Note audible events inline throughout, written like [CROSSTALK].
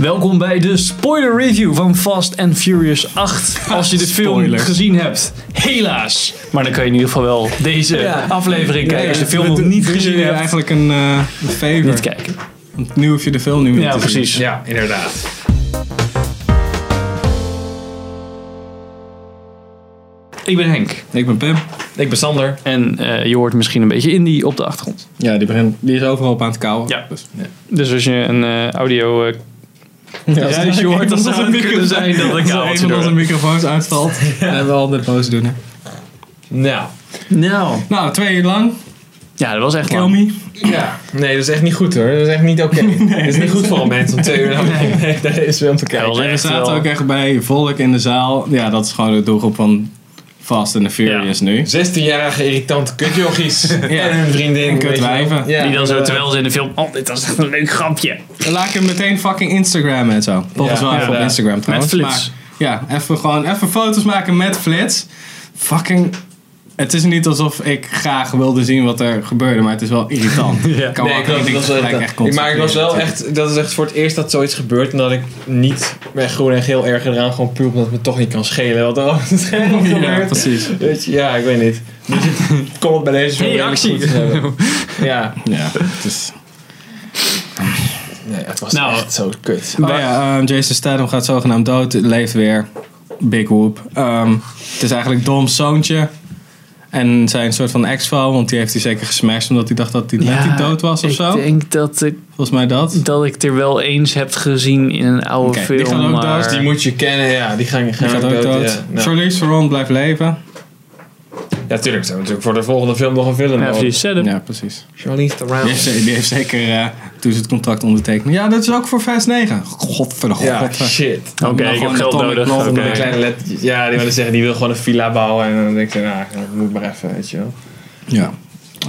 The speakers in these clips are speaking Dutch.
Welkom bij de spoiler review van Fast and Furious 8. Als je de film Spoilers. gezien hebt, helaas. Maar dan kan je in ieder geval wel deze Ja. [LAUGHS] aflevering kijken. Als je de film nog We- niet we doen gezien jullie hebt, eigenlijk een, eh een favor. niet kijken. Want nu hoef je de film niet meer Ja, te zien. precies. Ja, inderdaad. Ik ben Henk. Ik ben Pim. Ik ben Sander. En eh, je hoort misschien een beetje indie op de achtergrond. Ja, die begint. Die is overal op aan het kauwen. Ja. Dus, Dus als je een eh, audio eh ruisje hoort, dan zou het kunnen zijn dat ik Als een van onze een microfoons uitvalt. [LAUGHS] En we al net boos doen. Hè. Nou. Nou. Nou, twee uur lang. Ja, dat was echt Kill lang. me. Ja. Nee, dat is echt niet goed hoor. Dat is echt niet oké. dat is niet goed voor een mens om twee uur naar nee. deze film te Ja, dat kijken. was We echt zaten wel- ook echt bij volk in de zaal. Ja, dat is gewoon de doelgroep van Fast and the Furious nu. 16-jarige irritante kutjochies. En hun vriendin. En kutwijven. weet je wel. Die dan zo eh, terwijl ze in de film. Oh, dit was echt een leuk grapje. Laat ik hem meteen fucking Instagram en zo. Volgens Ja, wel even op ja. Instagram trouwens. flits. Maar, ja, even gewoon even foto's maken met flits. Fucking. Het is niet alsof ik graag wilde zien wat er gebeurde, maar het is wel irritant. [LAUGHS] Ja. Kan Nee, wel ik was, geen ik ding was wel gelijk echt, eh, echt maar ik was wel echt, dat is echt voor het eerst dat zoiets gebeurt en dat ik niet met groen en geel erg eraan gewoon puur omdat het me toch niet kan schelen wat er op het scherm Ja, gebeurt. precies. Weet je, ja, ik weet niet. Dus ik kon het bij deze film Hey, redelijk actie. goed hebben. Ja. Ja, het [LAUGHS] is... Nee, het was Nou. echt zo kut. Oh ja, ehm, Jason Statham gaat zogenaamd dood, leeft weer. Big whoop. Ehm, het is eigenlijk Dom's zoontje. En zijn soort van ex-vrouw, want die heeft hij zeker gesmashed omdat hij dacht dat hij net niet dood was of ik zo. denk dat ik, Volgens mij dat. dat ik er wel eens heb gezien in een oude Oké, film. die gaan ook dood, maar... Die moet je kennen, ja. Die gaan, gaan Die gaat ook dood. Ja, nou. Charlize Theron blijft leven. ja, tuurlijk. Ze hebben natuurlijk voor de volgende film nog een film. ja, nodig. precies. Zet hem. Ja, precies. Charlize Theron. Die heeft, ze- die heeft zeker eh, toen ze het contract ondertekende. Ja, dat is ook voor Fast 9. Godverdomme. Ja, godver- shit. Oké, Nou, ik heb gewoon geld atomic nodig. bomb, Oké. Met een kleine let- ja, die willen zeggen, die wil gewoon een villa bouwen. En dan denk je, nou, dat moet maar even, weet je wel. Ja.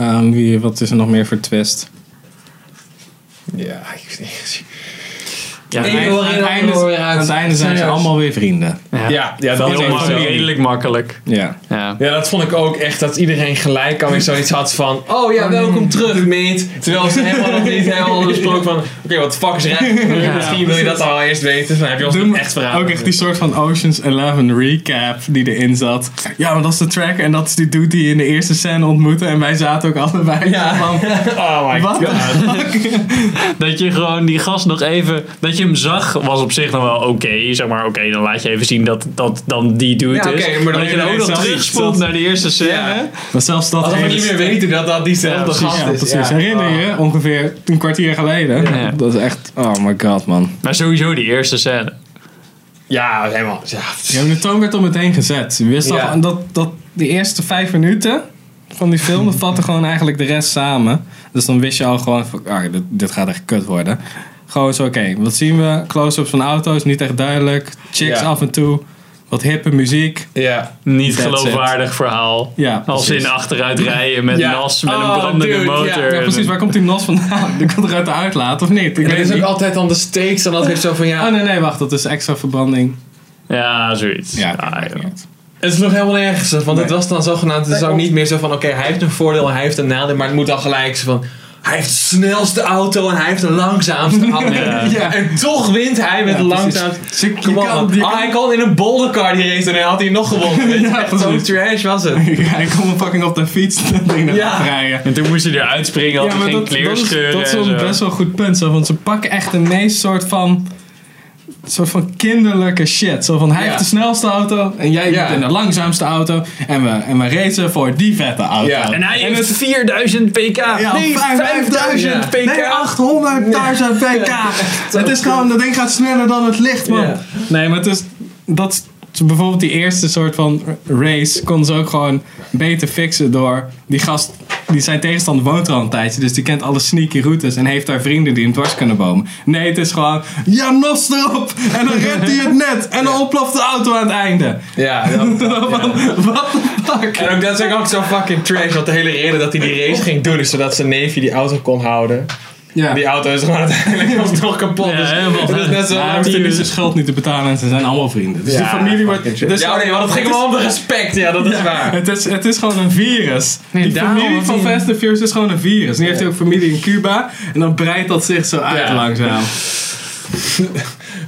Ehm, wie, wat is er nog meer voor twist? Ja, ik weet niet. Ja, Eén Aan het oor in, einde- ander aan het oor einde- uit. aan het einde zijn ze Serieus. allemaal weer vrienden. ja. Ja, ja, Heel dat is makkelijk, wel. redelijk makkelijk. Ja. Ja. Ja, dat vond ik ook echt, dat iedereen gelijk alweer zoiets had van, oh ja, welkom terug, mate. Terwijl ze helemaal nog niet helemaal hadden besproken van, oké, wat de fuck is er eigenlijk gebeurd? Ja, Misschien wil je dat al eerst weten, dan heb je ons niet echt verhaal. Ook echt die soort van Ocean's 11 recap die erin zat. Ja, maar dat is de track en dat is die dude die je in de eerste scène ontmoette. En wij zaten ook allebei Ja. van, Oh my wat god. the fuck? Dat je gewoon die gast nog even. Dat je hem zag, was op zich nog wel oké. zeg maar, oké, dan laat je even zien dat dat dan die dude Ja, oké, is. maar dan dat je dan ook iedereen nog zelf terugspoelt iets. naar die eerste scène. Ja. Maar zelfs dat Als we hele niet meer weten dat dat diezelfde Ja, precies, gast Ja, is. precies. Herinner je? Ongeveer een kwartier geleden. Ja. Dat is echt... Oh my god, man. Maar sowieso die eerste scène. Ja, helemaal. Ja, Je hebt de toon werd al meteen gezet. Je wist Ja. al dat, dat de eerste vijf minuten van die film, dat vatte gewoon eigenlijk de rest samen. Dus dan wist je al gewoon van, ah, dit, dit gaat echt kut worden. Gewoon zo, oké, wat zien we? Close-ups van auto's, niet echt duidelijk. Chicks Ja. af en toe. Wat hippe muziek. ja. Niet That's geloofwaardig verhaal. Ja, Als precies. in achteruit rijden met Ja. nas, met een Oh, brandende dude, ja. motor. Ja, precies. Waar komt die nos vandaan? [LAUGHS] Die komt eruit de uitlaat, of niet? Ik En er weet is het ook niet. altijd dan de steeks en dat heeft zo van Oh, ja. nee, nee, wacht. Dat is extra verbranding. Ja, zoiets. Ja, Ah, maakt ja. niet uit. Het is nog helemaal nergens, want het was dan zogenaamd. Het is ook niet meer zo van oké, hij heeft een voordeel, hij heeft een nadeel, maar het moet al gelijk zo van. Hij heeft de snelste auto en hij heeft de langzaamste [LAUGHS] auto. Ja. Ja, En toch wint hij met Ja, de precies. langzaamste. Dus je- je Come kan- on, je man. Ah, kan- hij kon in een boldercar die race en hij had hij nog gewonnen. weet je. Ja, Echt Zo precies. trash was het. [LAUGHS] Ja, ik kom fucking op de fiets [LAUGHS] dat ding Ja. ja. rijden. En toen moest hij eruit springen, had Ja, hij maar geen dat, dat is, kleerscheuren dat is en wel zo. best wel een goed punt. Zo, want ze pakken echt de meest soort van, soort van kinderlijke shit. Zo van, hij Ja. heeft de snelste auto en jij Ja. bent in de langzaamste auto. En we, en we racen voor die vette auto. Ja. En hij En heeft 4000 pk. Ja, nee, 5000 Ja. pk. Nee, 800.000 pk. Het is gewoon, dat ding gaat sneller dan het licht, man. Ja. Nee, maar het is, dat is- bijvoorbeeld die eerste soort van race kon ze ook gewoon beter fixen door die gast, die zijn tegenstander woont er al een tijdje, dus die kent alle sneaky routes en heeft daar vrienden die hem dwars kunnen bomen. Nee, het is gewoon, ja, nos erop! En dan redt hij het net en dan ontploft de auto aan het einde. Ja, dat- [LAUGHS] What the fuck? [LAUGHS] En ook dat is ook zo fucking trash, want de hele reden dat hij die race ging doen is zodat zijn neefje die auto kon houden. Ja. Die auto is gewoon uiteindelijk alsnog kapot. Ja, dus helemaal. het is [LAUGHS] net zo Ja, hij lang hoeft die- niet zijn schuld niet te betalen en ze zijn allemaal vrienden. Dus Ja, de familie wordt... fucking Dus ja, nee, want het ging wel om de respect. Ja, dat is waar. Het is, het is gewoon een virus. die daarom, familie want van die- Fast and Furious is gewoon een virus. Nu heeft hij ook familie in Cuba. En dan breidt dat zich zo uit Ja. langzaam. Het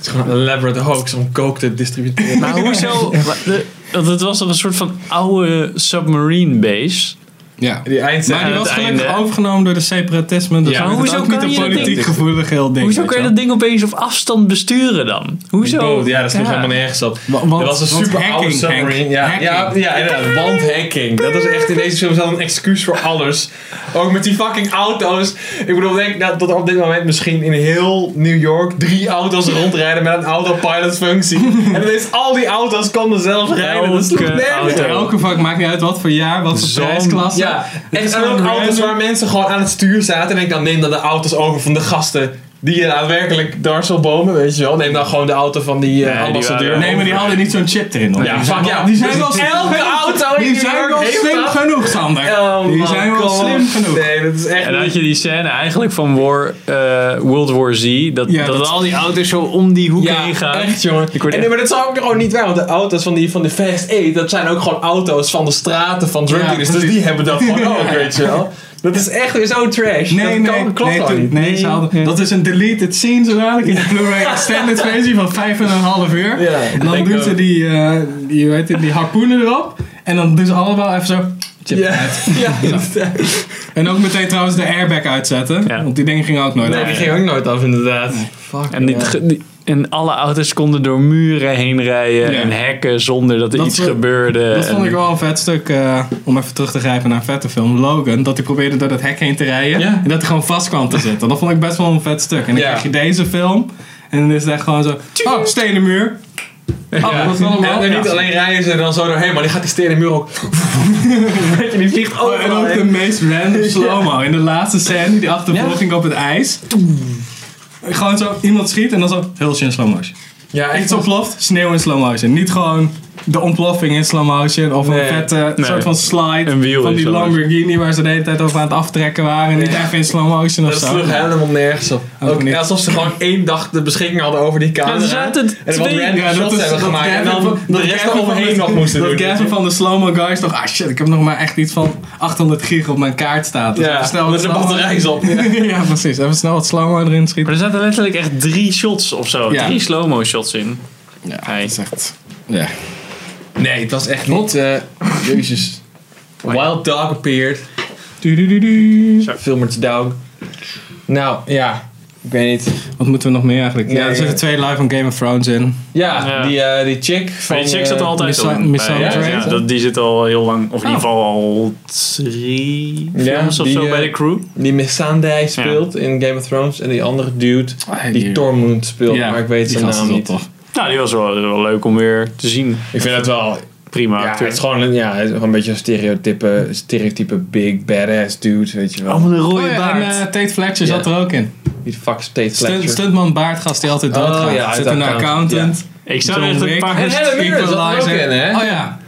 is gewoon een elaborate hoax om coke te distribueren. Nou, Maar hoezo? de- Want het was toch een soort van oude submarine base. Ja. Die eind Maar die het was gelukkig einde. overgenomen door de separatisme. Dus Ja. ja, Maar hoezo ook niet kan een je dat politiek ding- gevoelig heel ding. Hoezo weet kan je wel. dat ding opeens op afstand besturen dan? Hoezo? Ja, dat sloeg helemaal nergens op. Wa- want- dat was een want super oude hacking, Henk. submarine. Ja, Hacking. ja, ja, [LAUGHS] inderdaad. Wandhacking. Dat is echt in deze film wel een excuus voor alles. Ook met die fucking auto's. Ik bedoel, denk dat, dat er op dit moment misschien in heel New York drie auto's rondrijden met een autopilot [LAUGHS] functie. en ineens al die auto's konden zelf rijden. Dat sloeg Elke nergens auto. op. Elke vak maakt niet uit wat voor jaar, wat voor Zo'n- prijsklasse. Ja, Het en is zijn ook gewoon auto's random. waar mensen gewoon aan het stuur zaten. En ik dan neem dan de auto's over van de gasten. Die eh, daadwerkelijk Darcel bomen, weet je wel. Neem dan gewoon de auto van die eh Nee, die ambassadeur. waren- Nee, maar die hadden niet zo'n chip erin. hoor. Ja, Die fuck zijn wel- ja. Die zijn [LAUGHS] wel Dus elke auto in Die New zijn York wel heeft slim dat. genoeg, Sander. Oh, Die man, zijn wel kom op. slim genoeg. Nee, dat is echt En dan had niet- je die scène eigenlijk van War, eh, World War Z. Dat, Ja, dat, dat- al die auto's zo om die hoeken heen Ja, gaan. echt jongen. Ik word en, echt- Maar dat is ook gewoon niet waar, want de auto's van, die, van de Fast Aid, dat zijn ook gewoon auto's van de straten van drug Ja, dealers. dus precies. die hebben dat [LAUGHS] gewoon ook, weet je wel. Dat is echt weer zo trash. Nee, dat nee, kan- klopt nee, gewoon toen- niet. nee, ze hadden- dat is een deleted scene zo dadelijk in de Blu-ray extended versie van 5,5 uur. Ja, en dan ik doen ook. ze die, eh, die, hoe heet het, die harpoenen erop en dan doen ze allemaal even zo chip Ja, uit. [LAUGHS] ja, inderdaad. En ook meteen trouwens de airbag uitzetten, Ja. want die dingen gingen ook nooit Nee, uit. die ging ook nooit af, inderdaad. Fuck. En, die, ja. die- en alle auto's konden door muren heen rijden Ja. en hekken zonder dat er Dat iets vond- Eh, gebeurde. Dat vond En- ik wel een vet stuk, eh, om even terug te grijpen naar een vette film, Logan. Dat hij probeerde door dat hek heen te rijden Ja. en dat hij gewoon vast [LAUGHS] kwam te zitten. Dat vond ik best wel een vet stuk. En dan Ja. krijg je deze film en dan is het echt gewoon zo, oh, stenen muur. Oh, Ja. dat is allemaal. En, en niet Ja. alleen rijden ze er dan zo doorheen, maar die gaat die stenen muur ook. Weet je, die vliegt Oh, en overal ook de heen. meest [LAUGHS] random slow-mo. In de laatste scène, die achtervolging op het ijs. Gewoon zo, iemand schiet en dan zo, hulsje in slow motion. Ja, echt Iets zo. ontploft, sneeuw in slow motion. Niet gewoon de ontploffing in slow motion of Nee. een vette Nee. soort van slide Een wiel van in die slow motion. Lamborghini waar ze de hele tijd over aan het aftrekken waren. Niet Ja. even in slow motion of Dat zo. sloeg helemaal nergens op. Ook Ook niet. alsof ze gewoon één dag de beschikking hadden over die camera. Ja, er zaten en wat twee- random Ja, dat shots is hebben dat gemaakt. En Gavin dan van- de dat rest Gavin van overheen de- nog moesten doen. Dat Gavin van de slow-mo guys toch, ah shit, ik heb nog maar echt iets van 800 gig op mijn kaart staan. Dus Ja, even snel snel met de wat slow-mo- batterij is op. Ja. [LAUGHS] ja, precies. Even snel wat slow-mo erin schieten. Maar er zaten letterlijk echt drie shots of zo. Ja. Drie slow-mo shots in. Ja, Hij- dat is echt... Ja. Nee, het was echt niet... eh, Jezus. Wild Dog appeared. Du-du-du-du. Filmertje Dog. Nou, ja. Ik weet niet. Wat moeten we nog meer eigenlijk? Nee, ja, er ja. zitten twee live van Game of Thrones in. Ja, Ja. Die, eh, die chick van... Maar die chick zat er eh, altijd Missa- al in. Missa- bij, Missa- ja, Missa- dat, die zit al heel lang, of in ieder Oh. geval al drie Ja, films of die, zo eh, bij de crew. Die Missandei speelt in Game of Thrones. En die andere dude die Tormund speelt. Ah, Ja, maar ik weet die zijn gast is naam wel niet. tof. Nou, die was wel, wel leuk om weer te zien. Ik vind het wel... Prima Ja, acteur. het is gewoon een, ja, het is gewoon een beetje een stereotype, stereotype big badass dude, weet je wel. Allemaal een rode Oh ja, en baard. eh, Tate Fletcher Ja. zat er ook in. Die fuck steeds Stunt, Fletcher. stuntman baardgast die altijd Oh, doodgaat. ja, uit zit een Accountant. accountant. ik zag eh, John echt een Wick. [LAUGHS] paar, En Helen Mirren zat er ook Equalizer. in, hè? Oh ja.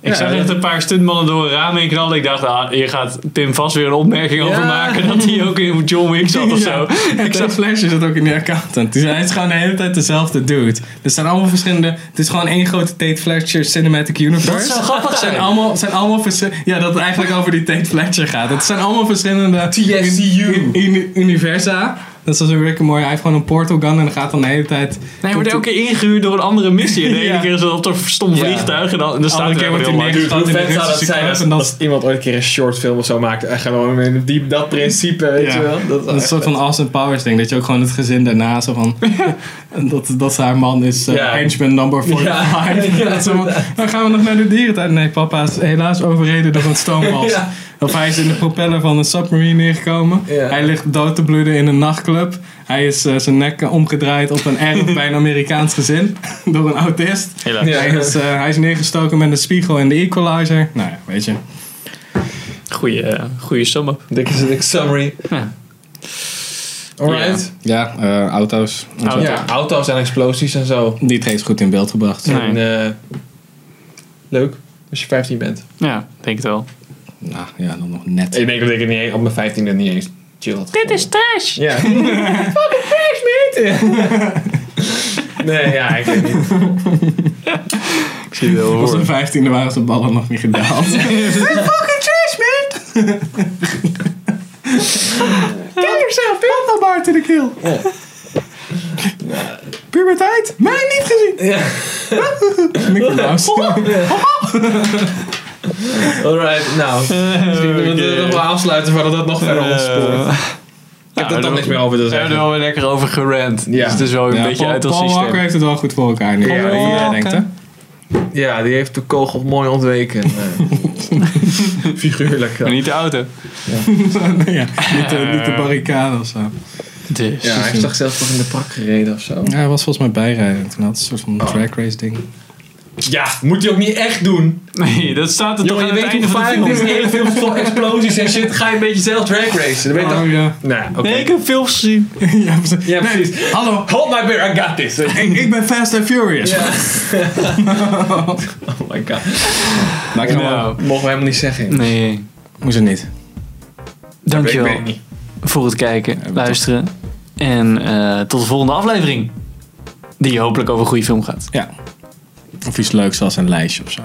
ik zag Ja, echt een paar stuntmannen door een raam heen knallen. Ik dacht, ah, hier gaat Pim vast weer een opmerking Ja. over maken dat hij ook in John Wick zat of [LAUGHS] zo. En Ik Tate zag Fletcher zat ook in die accountant. Dus hij is gewoon de hele tijd dezelfde dude. Er zijn allemaal verschillende... Het is gewoon één grote Tate Fletcher cinematic universe. Dat zou grappig zijn. zijn allemaal, zijn allemaal verschi- Ja, dat het eigenlijk over die Tate Fletcher gaat. Het zijn allemaal verschillende TSCU. un- un- universa. Dat is als een Rick and Morty. Hij heeft gewoon een portal gun en dan gaat dan de hele tijd. Nee, hij wordt elke keer ingehuurd door een andere missie. En [LAUGHS] de ene Ja. keer is het op een stom Ja. vliegtuig. En dan, en dan staat Andere er keer wordt heel hij lang. neerge- Hoe Gewoon in de vet zou dat Russische zijn als, klas en dan- als iemand ooit een keer een shortfilm of zo maakt. En gewoon met die, dat principe, weet Ja. je wel. Dat, Dat is een soort van Austin Powers ding. Dat je ook gewoon het gezin daarna zo [LAUGHS] van. en dat, dat ze haar man is eh, Ja. henchman number 45. [LAUGHS] Ja. Dat ze van, dan gaan we nog naar de dierentuin. Nee, papa is helaas overreden door een stoomwals. [LAUGHS] Ja. Of hij is in de propeller van een submarine neergekomen. Ja. Hij ligt dood te bloeden in een nachtclub. Hij is eh, zijn nek eh, omgedraaid op een erf bij een Amerikaans gezin. [LAUGHS] door een autist. Helaas. Ja. Hij, is, eh, hij is neergestoken met een spiegel en de equalizer. Nou ja, weet je. Goeie, eh, goeie sum-up. Dit is een summary. Ja. Alright. Ja, eh, auto's. zo. Ja. Auto. auto's en explosies en zo. Niet reeds goed in beeld gebracht. Nee. En, eh, leuk, als je 15 bent. Ja, denk het wel. Nou ja, dan nog net. Ik denk dat ik het niet eens, op mijn 15 niet eens chill had gevonden. [LAUGHS] trash! Ja. Fucking facts, mate! nee, ja, ik weet niet. Ik zie het wel Op zijn horen. vijftiende waren zijn ballen nog niet [LAUGHS] gedaald. fucking trash, man! nou Get yourself, Papa Bart in de keel. Ja, puberteit? Mij niet gezien! Ja. Mickey Mouse. Alright, nou. Misschien moeten we het nog wel afsluiten voordat dat nog Eh, verder ontsporen. Ik heb dat dan niks meer over te nou, We hebben er zeggen. wel weer lekker over gerand. Dus het is wel een Ja, beetje Paul, uit ons Paul systeem. Walker heeft het wel goed voor elkaar. Nu. Ja, Ja, Paul ja, Walker. denkt, hè? Ja, die heeft de kogel mooi ontweken. eh. Figuurlijk. Maar Ja, niet de auto. ja, niet, de, niet de barricade of zo. Dus. Ja, hij heeft toch zelf toch in de prak gereden of zo. Ja, hij was volgens mij bijrijden. Toen had een soort van track race ding. Ja, moet hij ook niet echt doen. Nee, dat staat er Jongen, toch je aan het weet einde hoe van de vaak film. dit is in hele films toch explosies en shit. Ga je een beetje zelf drag racen. Dan weet je toch... Oh ja. [LAUGHS] Nou, oké. Nee, ik heb films gezien. ja, precies. Ja, Nee, precies. hallo, Hold my beer, I got this. ik, ik ben Fast and Furious. Ja. [LAUGHS] oh my god. Nou, ik Nou. Mogen we helemaal niet zeggen. Nee. Moest het niet. Ik weet Dankjewel het niet. voor het kijken, luisteren. En eh, tot de volgende aflevering. Die hopelijk over een goede film gaat. Ja. Of iets leuks als een lijstje of zo.